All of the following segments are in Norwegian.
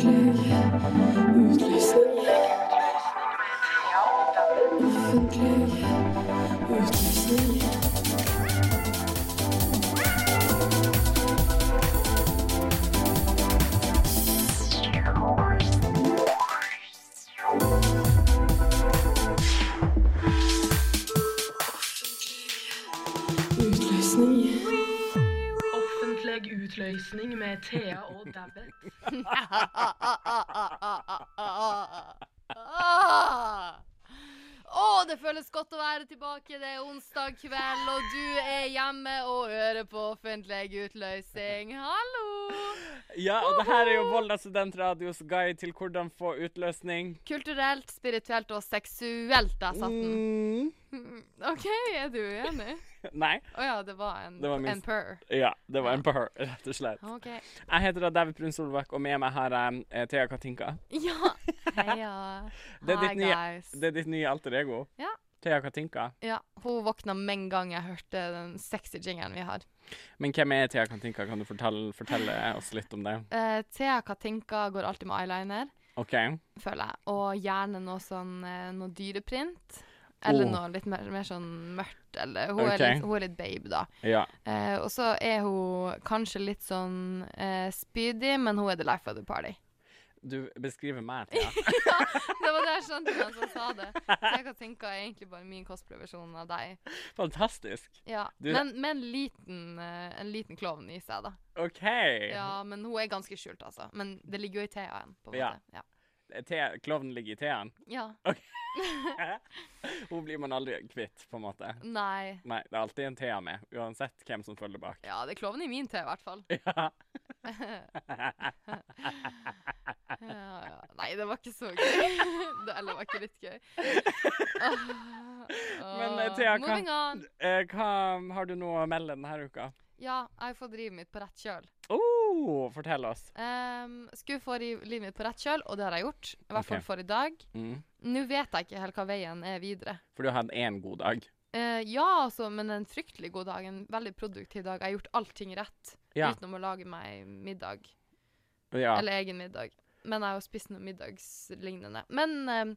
Offentlig utlysning. Offentlig utlysning. Offentlig utlysning. Offentlig utløsning med Thea og Dabbe. Å, det føles godt å være tilbake. Det er onsdag kveld, og du er hjemme og hører på offentlig utløsning. Hallo! Ja, og det her er jo Volda studentradios guide til hvordan få utløsning. Kulturelt, spirituelt og seksuelt, der satt den. OK, er du uenig? Mm. Nei. Å ja, det var en, Det var min- en purr. Ja, det var en purr, rett og slett. OK. Jeg heter da David Brun Solbakk, og med meg har jeg eh, Thea Katinka. Ja. Heia. Det er Hi, ditt nye- guys. Det er ditt nye alter ego. Ja. Thea Katinka. Ja, hun våkna med en gang jeg hørte den sexy jingeren vi har. Men hvem er Thea Katinka? Kan du fortelle, fortelle oss litt om det? Eh, Thea Katinka går alltid med eyeliner. OK. føler jeg. Og gjerne noe sånn eh, noe dyreprint. Eller Oh. noe litt mer, mer sånn mørkt. Eller, hun, Ok. er litt, hun er litt babe, da. Ja. Eh, og så er hun kanskje litt sånn eh, spydig, men hun er the life of the party. Du beskriver meg, Thea. Det var det jeg skjønte da han sa det. Så jeg kan tenke er egentlig bare min cosplay-versjon av deg. Fantastisk. Ja. Du- Men med en liten, eh, en liten klovn i seg, da. OK. Ja, Men hun er ganske skjult, altså. Men det ligger jo i Thea-en, på en Ja. måte. Ja. Thea- Klovnen ligger i Theaen. ja. Hun blir man aldri kvitt, på en måte. Nei. Nei, det er alltid en Thea med, uansett hvem som følger bak. Ja, det er klovn i min te, i hvert fall. Ja. Ja, ja. Nei, det var ikke så gøy. det, eller det var ikke litt gøy. Åh, åh. Men, eh, Thea, hva- Moving on. Eh, hva har du noe å melde denne uka? Ja, jeg får drivet mitt på rett kjøl. Oh, fortell oss. Um, skulle få ri- livet mitt på rett kjøl, og det har jeg gjort. I hvert fall Ok. for i dag. Mm. Nå vet jeg ikke helt hva veien er videre. For du har hatt én god dag. Eh, ja, altså, men en fryktelig god dag. En veldig produktiv dag. Jeg har gjort allting rett, Ja. utenom å lage meg middag. ja. Eller egen middag. Men jeg har jo spist noe middagslignende. Men eh,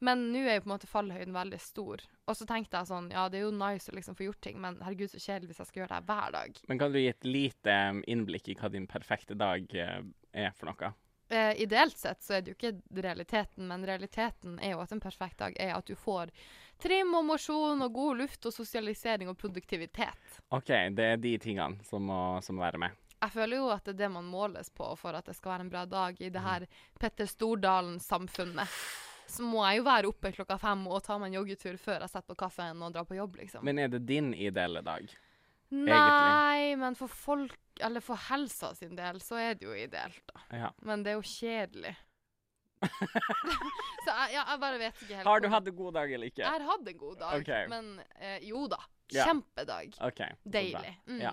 men nå er jo på en måte fallhøyden veldig stor. Og så tenkte jeg sånn, ja det er jo nice å liksom få gjort ting, men herregud så kjedelig hvis jeg skal gjøre det her hver dag. Men kan du gi et lite um, innblikk i hva din perfekte dag eh, er for noe? Eh, ideelt sett så er det jo ikke realiteten, men realiteten er jo at en perfekt dag er at du får trim og mosjon og god luft og sosialisering og produktivitet. OK, det er de tingene som må, som må være med. Jeg føler jo at det er det man måles på for at det skal være en bra dag i det Mm. her Petter Stordalen-samfunnet. Så må jeg jo være oppe klokka fem og ta meg en joggetur før jeg setter på kaffen og drar på jobb, liksom. Men er det din ideelle dag? Nei, men for folk, eller for helsa sin del, så er det jo ideelt, da. Ja. Men det er jo kjedelig. så jeg, ja, jeg bare vet ikke helt. Har du hvordan- hatt en god dag eller Jeg ikke? har hatt en god dag, Ok. men eh, jo da. Ja. Kjempedag. OK. så bra. Deilig. Mm. Ja.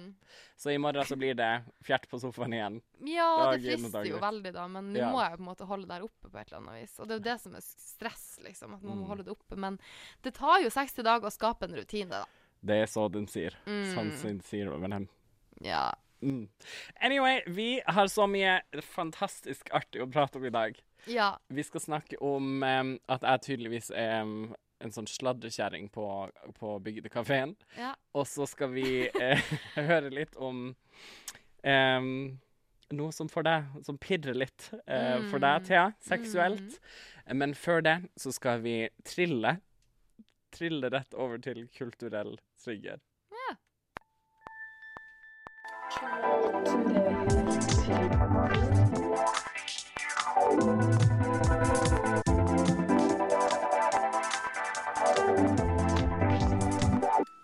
Så i morgen så blir det fjert på sofaen igjen. Ja, det Dag inn og dag frister jo ut. veldig, da, men nå Ja. må jeg på en måte holde det her oppe på et eller annet vis. Og det er jo det som er stress, liksom, at man må Mm. holde det oppe. Men det tar jo 60 dager å skape en rutine, da. Det er så den sier. Mm. Sånn som den sier over den. Ja. Mm. Anyway, vi har så mye fantastisk artig å prate om i dag. ja. Vi skal snakke om em, at jeg tydeligvis er em, en sånn sladrekjerring på, på bygdekafeen. Ja. Og så skal vi eh, høre litt om em, noe som for deg, som pirrer litt eh, for deg, Thea, seksuelt. Men før det så skal vi trille. Trille rett over til kulturell trigger.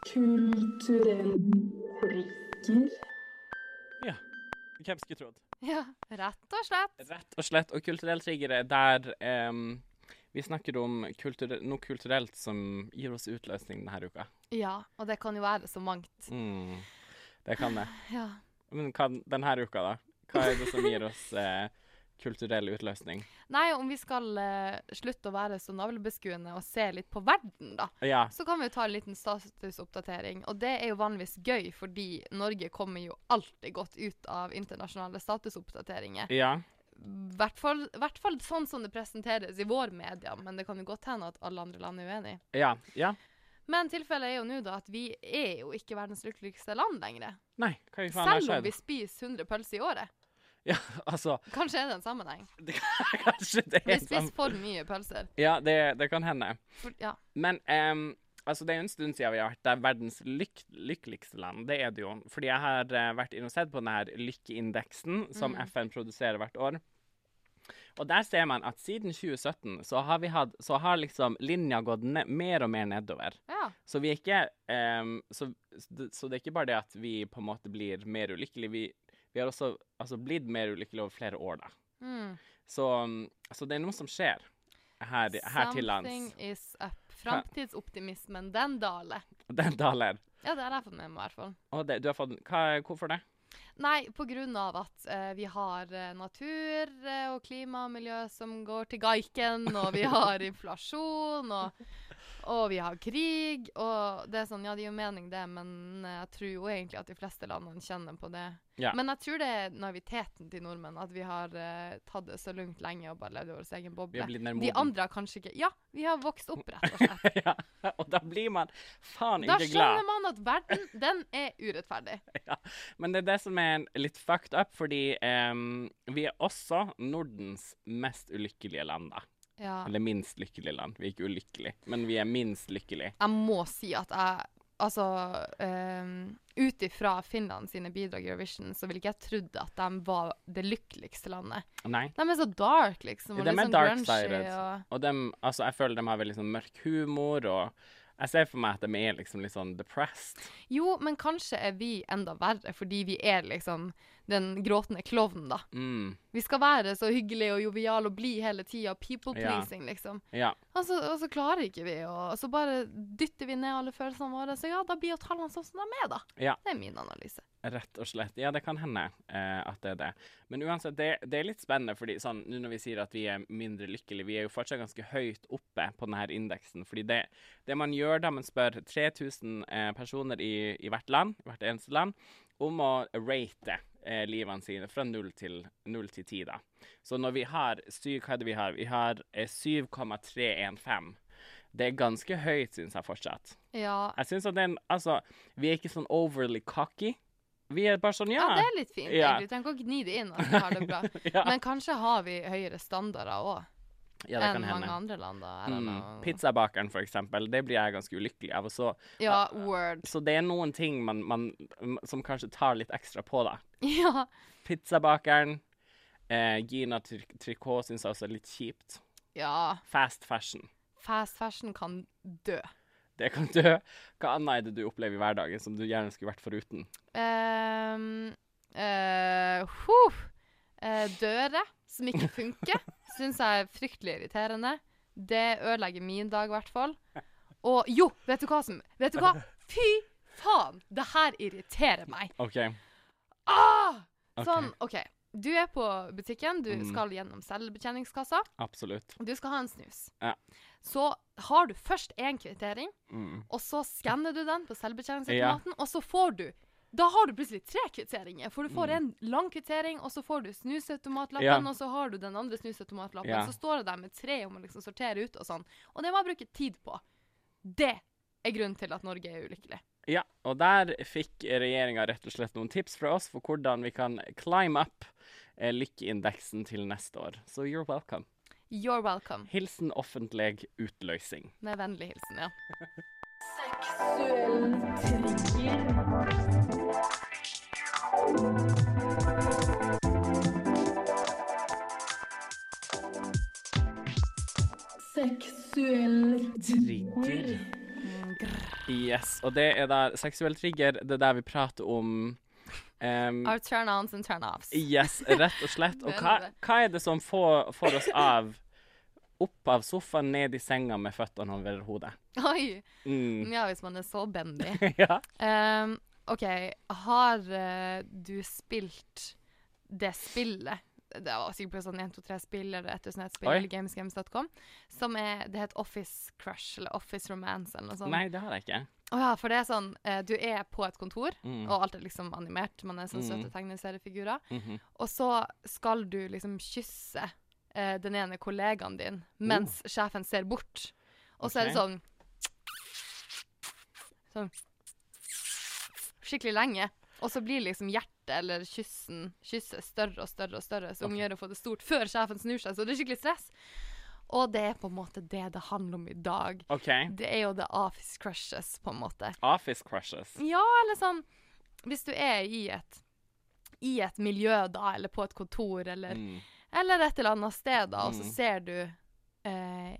Kulturell prikker. Hvem skulle trodd? ja. Rett og slett. Rett og slett. Og kulturell trigger er der em, vi snakker om kulturell- noe kulturelt som gir oss utløsning denne uka. Ja, og det kan jo være så mangt. Mm, det kan det. Ja. Men hva, denne uka, da? Hva er det som gir oss eh, kulturell utløsning? Nei, om vi skal eh, slutte å være så navlebeskuende og se litt på verden, da. Ja. Så kan vi jo ta en liten statusoppdatering, og det er jo vanligvis gøy, fordi Norge kommer jo alltid godt ut av internasjonale statusoppdateringer. ja. hvert fall, hvert fall sånn som det presenteres i vår media, men det kan jo godt hende at alle andre land er uenig. Ja. ja. Men tilfellet er jo nå da at vi er jo ikke verdens lykkeligste land lenger. Nei, hva i faen har Selv om skjedd? vi spiser 100 pølser i året. Ja, altså, Kanskje er det en sammenheng. det, kanskje det Vi er sånn. spiser for mye pølser. Ja, det, det kan hende. For, ja. Men em, altså, det er jo en stund siden vi har vært der verdens lyk lykkeligste land. Det er det jo. Fordi jeg har eh, vært inne og sett på denne her lykkeindeksen som FN produserer hvert år. Og der ser man at siden 2017 så har, vi hatt, så har liksom linja gått ned, mer og mer nedover. ja. Så vi er ikke em, så, så det- så det er ikke bare det at vi på en måte blir mer ulykkelige. Vi, vi har også altså, blitt mer ulykkelige over flere år, da. Mm. Så, så det er noe som skjer her, her til lands. Something is up. Framtidsoptimismen, den daler. Den daler. Ja, det har jeg fått med meg, i hvert fall. Og det, du har fått den. Hva, hvorfor det? Nei, på grunn av at eh, vi har eh, natur eh, og klima og miljø som går til gaiken, og vi har inflasjon, og, og vi har krig, og det er sånn, ja, det gir jo mening det, men eh, jeg tror jo egentlig at de fleste landene kjenner på det. Ja. Men jeg tror det er naiviteten til nordmenn, at vi har eh, tatt det så lugnt lenge og bare levd i vår egen Vi boble. har blitt mer De moden. andre har kanskje ikke, ja, vi har vokst opp rett og slett. ja. Og da blir man faen Da ikke glad. skjønner man at verden, den er urettferdig. Men det er det som er en- litt fucked up, fordi em, vi er også Nordens mest ulykkelige land, da. Ja. Eller minst lykkelige land. Vi er ikke ulykkelige, men vi er minst lykkelige. jeg må si at jeg Altså, um, ut ifra Finland sine bidrag i Eurovision, så ville ikke jeg trodd at de var det lykkeligste landet. Nei. De er så dark, liksom. Og De er litt sånn dark-sided. grungy og Og dem, altså, jeg føler de har veldig sånn mørk humor, og jeg ser for meg at de er liksom litt sånn depressed. Jo, men kanskje er vi enda verre, fordi vi er liksom den gråtende klovnen, da. Mm. Vi skal være så hyggelige og joviale og blide hele tida. People Ja. pleasing, liksom. Ja. Og så, og så klarer ikke vi, og så bare dytter vi ned alle følelsene våre. Så ja, da blir jo tallene sånn som de er, da. Ja. Det er min analyse. Rett og slett. Ja, det kan hende eh, at det er det. Men uansett, det, det er litt spennende, fordi sånn, nå når vi sier at vi er mindre lykkelige, vi er jo fortsatt ganske høyt oppe på denne her indeksen. Fordi det, det man gjør da man spør 3000 eh, personer i, i hvert land, hvert eneste land, om å rate eh, livene sine fra 0 til, 0 til 10, da. Så når vi har syv, hva er det vi har? Vi har eh, 7,315. Det er ganske høyt, syns jeg fortsatt. Ja, Jeg synes at den, altså, vi er ikke sånn overly cocky. Vi er bare sånn, Ja, ja. det er litt fint. Ja. egentlig. Du trenger ikke å gni det inn at vi har det bra. Ja. Men kanskje har vi høyere standarder òg Ja, det enn kan mange hende. andre land. da. I don't Mm. know. Pizzabakeren, for eksempel, det blir jeg ganske ulykkelig av. og Så, Ja, word. så det er noen ting man, man, som kanskje tar litt ekstra på, da. Ja. Pizzabakeren, eh, Gina Tri Tricot synes jeg også er litt kjipt. ja. Fast fashion. Fast fashion kan dø. Det kan dø. Hva annet er det du opplever i hverdagen som du gjerne skulle vært foruten? Ehm, eh, huh. Eh, dører som ikke funker, syns jeg er fryktelig irriterende. Det ødelegger min dag, i hvert fall. Og jo, vet du hva som Vet du hva? Fy faen! Det her irriterer meg. OK. Ah! Ok. Sånn, OK. Du er på butikken, du Mm. skal gjennom selvbetjeningskassa. Absolutt. Du skal ha en snus. Ja. Så har du først én kvittering, Mm. og så skanner du den på selvbetjeningsautomaten, og så får du Da har du plutselig tre kvitteringer, for du får en lang kvittering, og så får du snusautomatlappen, Mm. Ja. og så har du den andre snusautomatlappen. Ja. Så står det der med tre om å liksom sortere ut og sånn. Og det må jeg bruke tid på. Det er grunnen til at Norge er ulykkelig. Ja, og der fikk regjeringa rett og slett noen tips fra oss for hvordan vi kan climb up eh, lykkeindeksen til neste år. Så you're welcome. You're welcome. Hilsen offentlig utløsning. Med vennlig hilsen, ja. Seksuell trigger. Seksuell Trigger. Yes, og det er da seksuell trigger. Det er der vi prater om em, Our turn-ons and turn-offs. Yes, rett og slett. Og Det er hva, det. hva er det som får, får oss av opp av sofaen, ned i senga med føttene over hodet? Oi! Mm. Ja, hvis man er så bendy. ja. Um, OK, har eh, du spilt det spillet? Det var sikkert på sånn 1, 2, 3-spill eller 1001-spill Oi. eller gamesgames.com. Som er, det heter Office Crush eller Office Romance eller noe sånt. Nei, det har jeg ikke. Å ja, for det er sånn eh, Du er på et kontor, Mm. og alt er liksom animert. Man er sånn Mm. søte tegneseriefigurer. Mhm. Og så skal du liksom kysse eh, den ene kollegaen din mens sjefen ser bort. Og så er det Ok. sånn Sånn Skikkelig lenge. Og så blir liksom hjertet eller kyssen kysset større og større og større, så ungen gjør å få det stort før sjefen snur seg, så det er skikkelig stress. Og det er på en måte det det handler om i dag. OK. Det er jo the office crushes, på en måte. Office crushes. Ja, eller sånn Hvis du er i et, i et miljø, da, eller på et kontor, eller, Mm. eller et eller annet sted, da, og så Mm. ser du eh,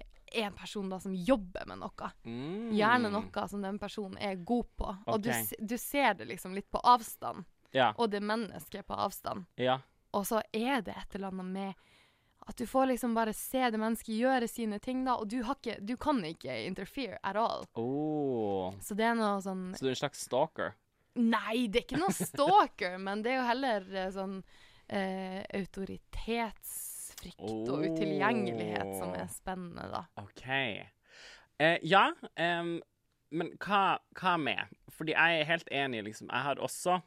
en person da som jobber med noe. Mm. Gjerne noe som den personen er god på. Og du, Ok. s- du ser det liksom litt på avstand, Ja. og det mennesket på avstand. ja. Og så er det et eller annet med at du får liksom bare se det mennesket gjøre sine ting, da, og du, har ikke, du kan ikke interfere at all. Oh. Så det er noe sånn Så du er en slags stalker? Nei, det er ikke noen stalker, men det er jo heller eh, sånn eh, autoritetsfrykt og utilgjengelighet som er spennende, da. OK. Eh, ja, em, men hva, hva med? Fordi jeg er helt enig, liksom. Jeg har også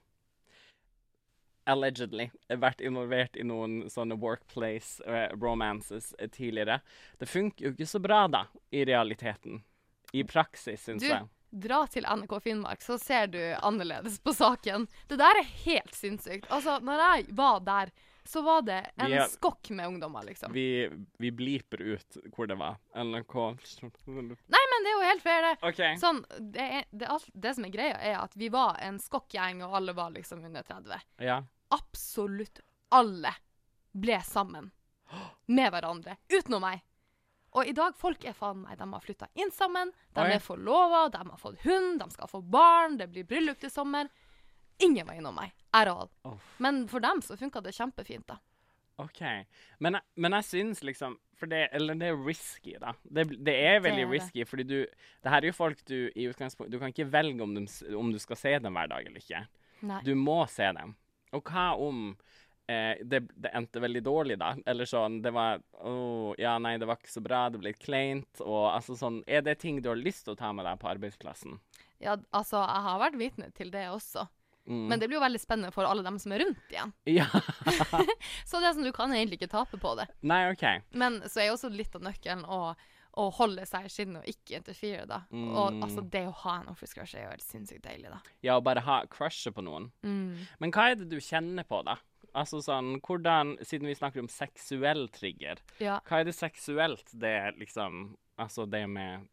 allegedly vært involvert i noen sånne workplace eh, romances eh, tidligere. Det funker jo ikke så bra, da, i realiteten. I praksis, syns Du, jeg. dra til NRK Finnmark, så ser du annerledes på saken. Det der er helt sinnssykt. Altså, når jeg var der, så var det en Vi er- skokk med ungdommer, liksom. Vi, vi bliper ut hvor det var. NRK Nei, men det er jo helt fair, det. OK. Sånn, det, er, det, er alt, det som er greia, er at vi var en skokkgjeng, og alle var liksom under 30. Ja. absolutt alle ble sammen med hverandre, utenom meg. Og i dag, folk er faen meg, de har flytta inn sammen, de Oi. er forlova, de har fått hund, de skal få barn, det blir bryllup til sommer. Ingen var innom meg. At all. Uff. Men for dem så funka det kjempefint, da. OK. Men, jeg- men jeg syns liksom For det, eller det er risky, da. Det, bl- det er veldig er det. risky, fordi du Det her er jo folk du i utgangspunktet Du kan ikke velge om, dem, s- om du skal se dem hver dag eller ikke. Nei. Du må se dem. Og hva om eh, det, det endte veldig dårlig, da? Eller sånn Det var Å, ja, nei, det var ikke så bra. Det ble litt kleint. Og altså sånn Er det ting du har lyst til å ta med deg på arbeidsplassen? Ja, altså, jeg har vært vitne til det også. Mm. Men det blir jo veldig spennende for alle dem som er rundt igjen. Ja. Så det er sånn, du kan egentlig ikke tape på det. Nei, OK. Men så er jo også litt av nøkkelen å, å holde seg i skinnet og ikke interfere, da. Og Mm. altså, det å ha en office crush er jo helt sinnssykt deilig, da. Mm. Ja, å bare ha crushet på noen. Men hva er det du kjenner på, da? Altså sånn, hvordan, Siden vi snakker om seksuell trigger, Ja. hva er det seksuelt det liksom Altså det med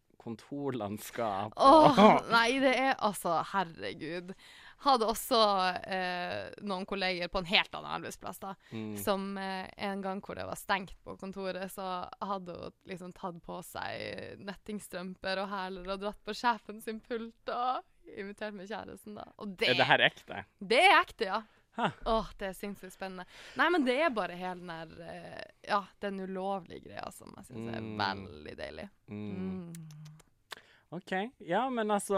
kontorlandskap Åh, nei, det er altså Herregud. Hadde også eh, noen kolleger på en helt annen arbeidsplass, da. Mm. Som eh, en gang hvor det var stengt på kontoret, så hadde hun liksom tatt på seg nettingstrømper og hæler og dratt på sjefen sin pult og invitert med kjæresten, da. Og det, Er det her ekte? Det er ekte, ja. Hæ. Åh, det er sinnssykt spennende. Nei, men det er bare hele den der eh, Ja, den ulovlige greia som jeg syns er Mm. veldig deilig. Mm. Mm. OK. Ja, men altså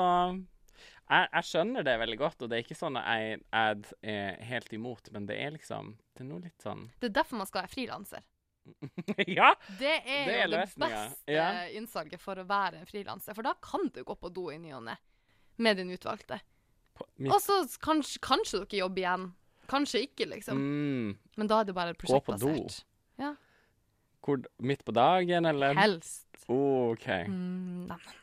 jeg, jeg skjønner det veldig godt, og det er ikke sånn at jeg jeg er helt imot, men det er liksom Det er noe litt sånn Det er derfor man skal være frilanser. Ja! Det er, Det jo er det løsninga, beste ja. innsalget for å være en frilanser, for da kan du gå på do i ny og ne med din utvalgte. På, mitt, Og så s- kanskje, kanskje du ikke jobber igjen. Kanskje ikke, liksom. mm, Men da er det bare Gå på do. prosjektbasert. hvor, midt på dagen, eller? Helst. OK. Mm, nei, nei.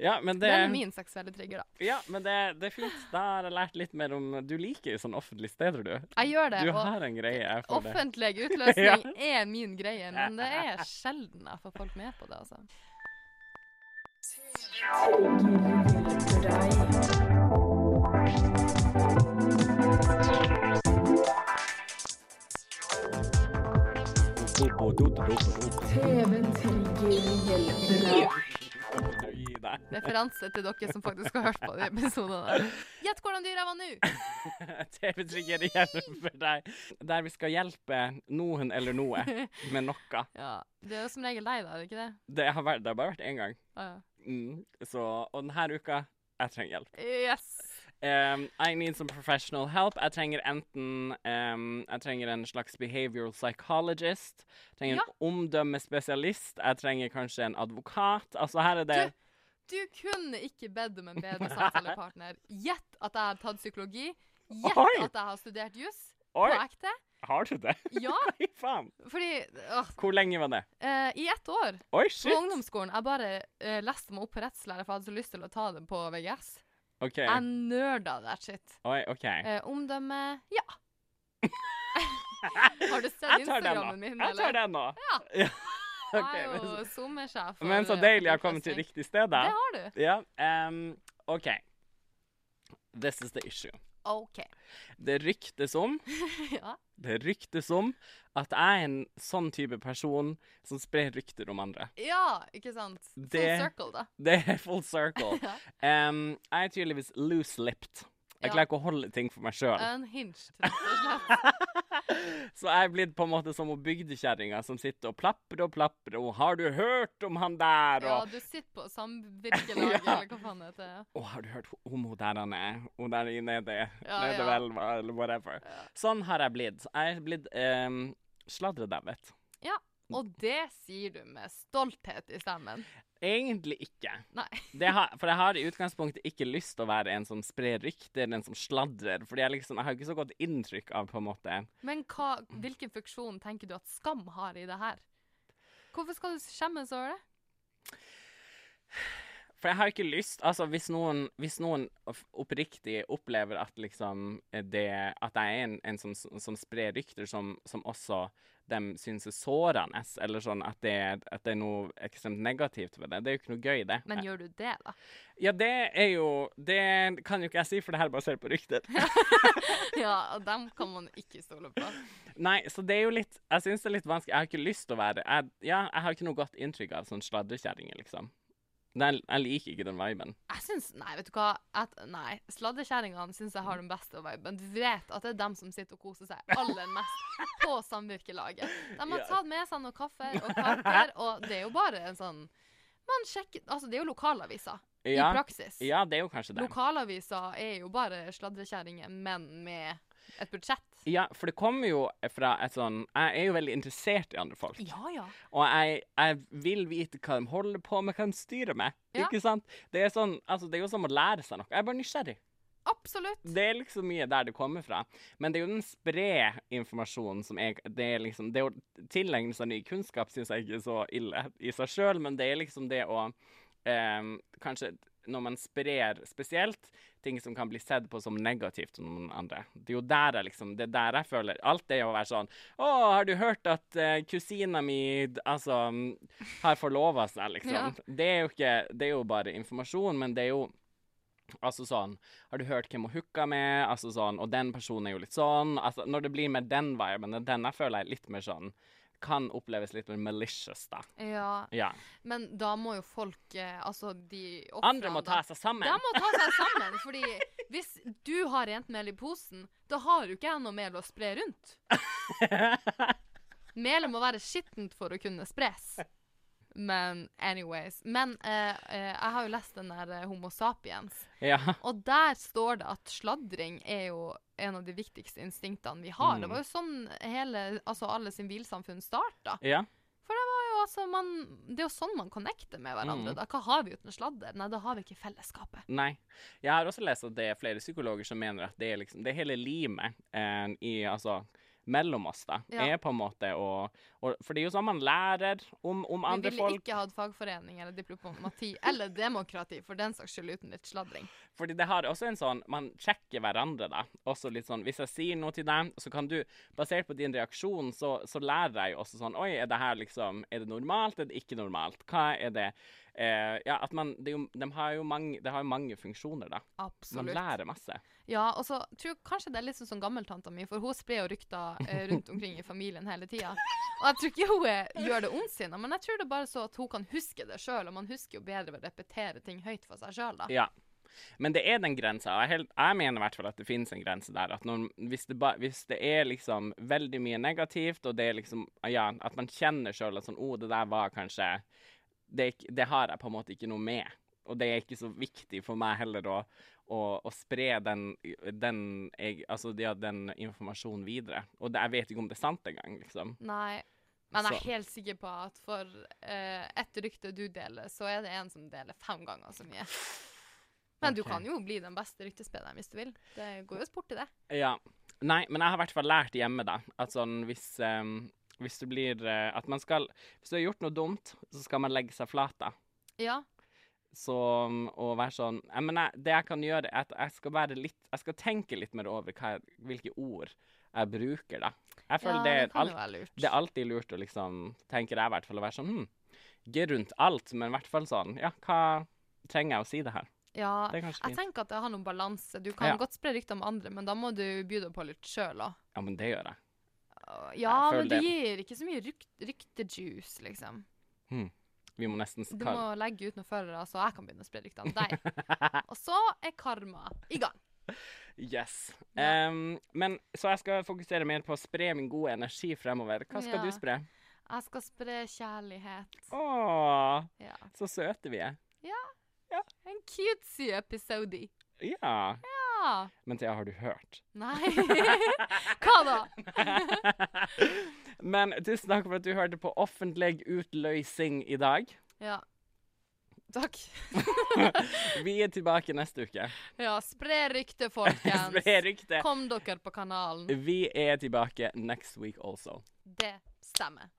Ja, men det Den er min seksuelle trigger, da. Ja, men det, det er fint. Da har jeg lært litt mer om Du liker jo sånne offentlige steder, du. Jeg gjør det. Du og- har en greie for det. Offentlig utløsning er min greie, men det er sjelden jeg får folk med på det. altså. Gi deg. Referanse til dere som faktisk har hørt på de episodene. Gjett hvordan dyr jeg var nå! TV-trigger igjen for deg. Der vi skal hjelpe noen eller noe med noe. Ja, det er jo som regel deg, da, er det ikke det? Det har, vært, det har bare vært én gang. Å, ja. Mm. Så, og denne uka jeg trenger hjelp. Yes! Um, I need some professional help. Jeg trenger enten um, Jeg trenger en slags behavioral psychologist. Jeg trenger en omdømmespesialist. Jeg trenger kanskje en advokat. Altså, her er det Du, Du kunne ikke bedt om en bedre samtalepartner. Gjett at jeg har tatt psykologi. Gjett Oi! at jeg har studert juss. På Oi, ekte. har du det? Ja, Oi, faen. fordi åh, Hvor lenge var det? eh, I ett år på Oi, shit. ungdomsskolen jeg bare eh, leste meg opp på rettslære, for jeg hadde så lyst til å ta det på VGS. OK. Jeg nerda that shit. Oi, OK. Eh, omdømme Ja. har du sett Jeg tar den Instagrammen nå. min, Jeg tar den nå. Ja. OK. Jeg er men- jo sommersjef. Men så for, eh, deilig å komme til oppløsning. riktig sted, da. Det har du. Ja, ehm, OK. This is the issue. OK. Det ryktes om ja. Det ryktes om at jeg er en sånn type person som sprer rykter om andre. ja, ikke sant? Full Det- circle, da. Det er full circle. Ja. Em, jeg er tydeligvis loose-lipped. Jeg Ja. klarer ikke å holde ting for meg sjøl. Unhinged, rett og slett. Så jeg er blitt på en måte som hun bygdekjerringa som sitter og plapper og plapper og 'Har du hørt om han der?' Ja, og du sitter på samvirkelaget, Ja. eller hva faen det heter. ja. 'Å, har du hørt om hun der han er? Hun der i nede, Ja, nede ja. ved elva, eller whatever. Sånn har jeg blitt. Jeg er blitt um, sladredauet. Og det sier du med stolthet i stemmen. Egentlig ikke. Nei. Det har, for jeg har i utgangspunktet ikke lyst til å være en som sprer rykter, en som sladrer. Fordi jeg liksom, jeg har ikke så godt inntrykk av på en måte Men hva, hvilken funksjon tenker du at skam har i det her? Hvorfor skal du skjemmes over det? For jeg har ikke lyst Altså, hvis noen, hvis noen of- oppriktig opplever at liksom eh, det At jeg er en, en som, som sprer rykter som, som også dem syns er sårende, eller sånn at det, er- at det er noe ekstremt negativt ved det, det er jo ikke noe gøy, det. Men gjør du det, da? Ja, det er jo Det kan jo ikke jeg si, for det her er basert på rykter. Ja, og dem kan man ikke stole på. Nei, så det er jo litt Jeg syns det er litt vanskelig. Jeg har ikke lyst til å være jeg, Ja, jeg har ikke noe godt inntrykk av sånn sladrekjerringer, liksom. Jeg, jeg liker ikke den viben. Jeg syns Nei, vet du hva? At, nei, Sladdekjerringene syns jeg har den beste viben. Du vet at det er dem som sitter og koser seg aller mest på samvirkelaget. De har Ja. tatt med seg noe kaffe og kaker, og det er jo bare en sånn Man sjekker Altså, det er jo lokalaviser Ja, i praksis. ja, det er jo kanskje det. Lokalaviser er jo bare sladrekjerringer, men med et budsjett. Ja, for det kommer jo fra et sånn Jeg er jo veldig interessert i andre folk. Ja, ja. Og jeg, jeg vil vite hva de holder på med, hva de styrer med. Ja. Ikke sant? Det er, sånn, altså, det er jo som å lære seg noe. Jeg er bare nysgjerrig. Absolutt. Det er liksom mye der det kommer fra. Men det er jo den spre informasjonen som er Det er liksom det å tilegne seg ny kunnskap syns jeg ikke er så ille i seg sjøl, men det er liksom det å ehm, Kanskje når man sprer spesielt ting som kan bli sett på som negativt av noen andre. Det er jo der jeg liksom Det er der jeg føler Alt det å være sånn Å, har du hørt at eh, kusina mi d- altså mm, har forlova seg, liksom? Ja. Det er jo ikke Det er jo bare informasjon, men det er jo Altså sånn Har du hørt hvem hun hooka med? Altså sånn Og den personen er jo litt sånn. Altså når det blir med den viben, det er den jeg føler er litt mer sånn Kan oppleves litt mer malicious, da. Ja, Ja. men da må jo folk eh, Altså, de Andre må ofrene, ta da. seg sammen. De må ta seg sammen, fordi hvis du har rent mel i posen, da har jo ikke jeg noe mel å spre rundt. Melet må være skittent for å kunne spres. Men anyways. Men eh, eh, jeg har jo lest den der eh, Homo sapiens, Ja. og der står det at sladring er jo en av de viktigste instinktene vi har. Det var jo sånn hele, altså alle sivilsamfunn starta. ja. Jo, altså, man, det er jo sånn man connecter med hverandre. Mm. Da. Hva har vi uten sladder? Nei, da har vi ikke fellesskapet. Nei. Jeg har også lest at det er flere psykologer som mener at det er liksom Det er hele limet eh, i Altså mellom oss, da. Ja. Er på en måte å å- For det er jo sånn man lærer om, om Vi andre ville folk. ikke hatt fagforening eller diplomati eller demokrati for den saks skyld uten litt sladring. Fordi det har også en sånn Man sjekker hverandre, da. Også litt sånn Hvis jeg sier noe til deg, så kan du Basert på din reaksjon, så, så lærer jeg jo også sånn Oi, er det her liksom Er det normalt? Er det ikke normalt? Hva er det eh, Ja, at man det er jo, de har jo mange, Det har jo mange funksjoner, da. Man Absolutt. lærer masse. Ja, og så tror jeg kanskje det er litt sånn som gammeltanta mi, for hun sprer jo rykter eh, rundt omkring i familien hele tida. Og jeg tror ikke hun eh, gjør det ondsinna, men jeg tror det er bare så at hun kan huske det sjøl, og man husker jo bedre ved å repetere ting høyt for seg sjøl, da. Ja. Men det er den grensa. og Jeg, hel- jeg mener i hvert fall at det finnes en grense der. At når, hvis, det ba, hvis det er liksom veldig mye negativt, og det er liksom Ja, at man kjenner sjøl at sånn Å, det der var kanskje det, er ikk- det har jeg på en måte ikke noe med. Og det er ikke så viktig for meg heller å, å, å spre den, den, jeg, altså, ja, den informasjonen videre. Og det, jeg vet ikke om det er sant engang, liksom. Nei. Men jeg er Så. helt sikker på at for eh, ett rykte du deler, så er det en som deler fem ganger så mye. Men du Ok. kan jo bli den beste ryktespilleren hvis du vil. Det går jo sport i det. Ja. Nei, men jeg har i hvert fall lært hjemme, da, at sånn hvis ehm, Hvis du blir eh, At man skal Hvis du har gjort noe dumt, så skal man legge seg flat, da. Ja. Så mm, å være sånn jeg mener, Det jeg kan gjøre, er at jeg skal være litt Jeg skal tenke litt mer over hva, jeg- hvilke ord jeg bruker, da. Jeg føler ja, det, det er kan alt, jo være lurt. det er alltid lurt å liksom Tenker jeg i hvert fall å være sånn hm, Ikke rundt alt, men i hvert fall sånn Ja, hva trenger jeg å si det her? ja, Det er kanskje jeg fint. tenker at det har noen balanse. Du kan Ja. godt spre rykter om andre, men da må du by deg på litt sjøl òg. Ja, men det gjør jeg. Ja, Jeg føler men du det. gir ikke så mye rykt, ryktejuice, liksom. Vi må nesten Du skal- må legge ut noe førere, så jeg kan begynne å spre rykter om deg. Og så er karma i gang. Yes. Ja. Em, men, så jeg skal fokusere mer på å spre min gode energi fremover. Hva skal Ja. du spre? Jeg skal spre kjærlighet. Å, Ja. så søte vi er. En cutesy episode. Ja. Ja. Men Thea, har du hørt? Nei Hva da? Men tusen takk for at du hørte på offentlig utløsing i dag. Ja. Takk. Vi er tilbake neste uke. Ja, spre ryktet, folkens. Spre ryktet. Kom dere på kanalen. Vi er tilbake next week also. Det stemmer.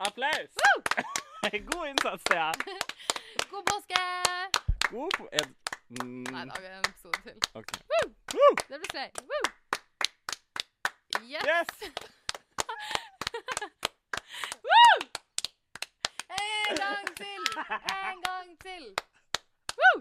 Applaus! God innsats, Thea. God påske! God po- er- Mm, Nei da, vi har en episode til. OK. Det blir slay. Woo! Yes! Yes! En gang til! En gang til! Woo!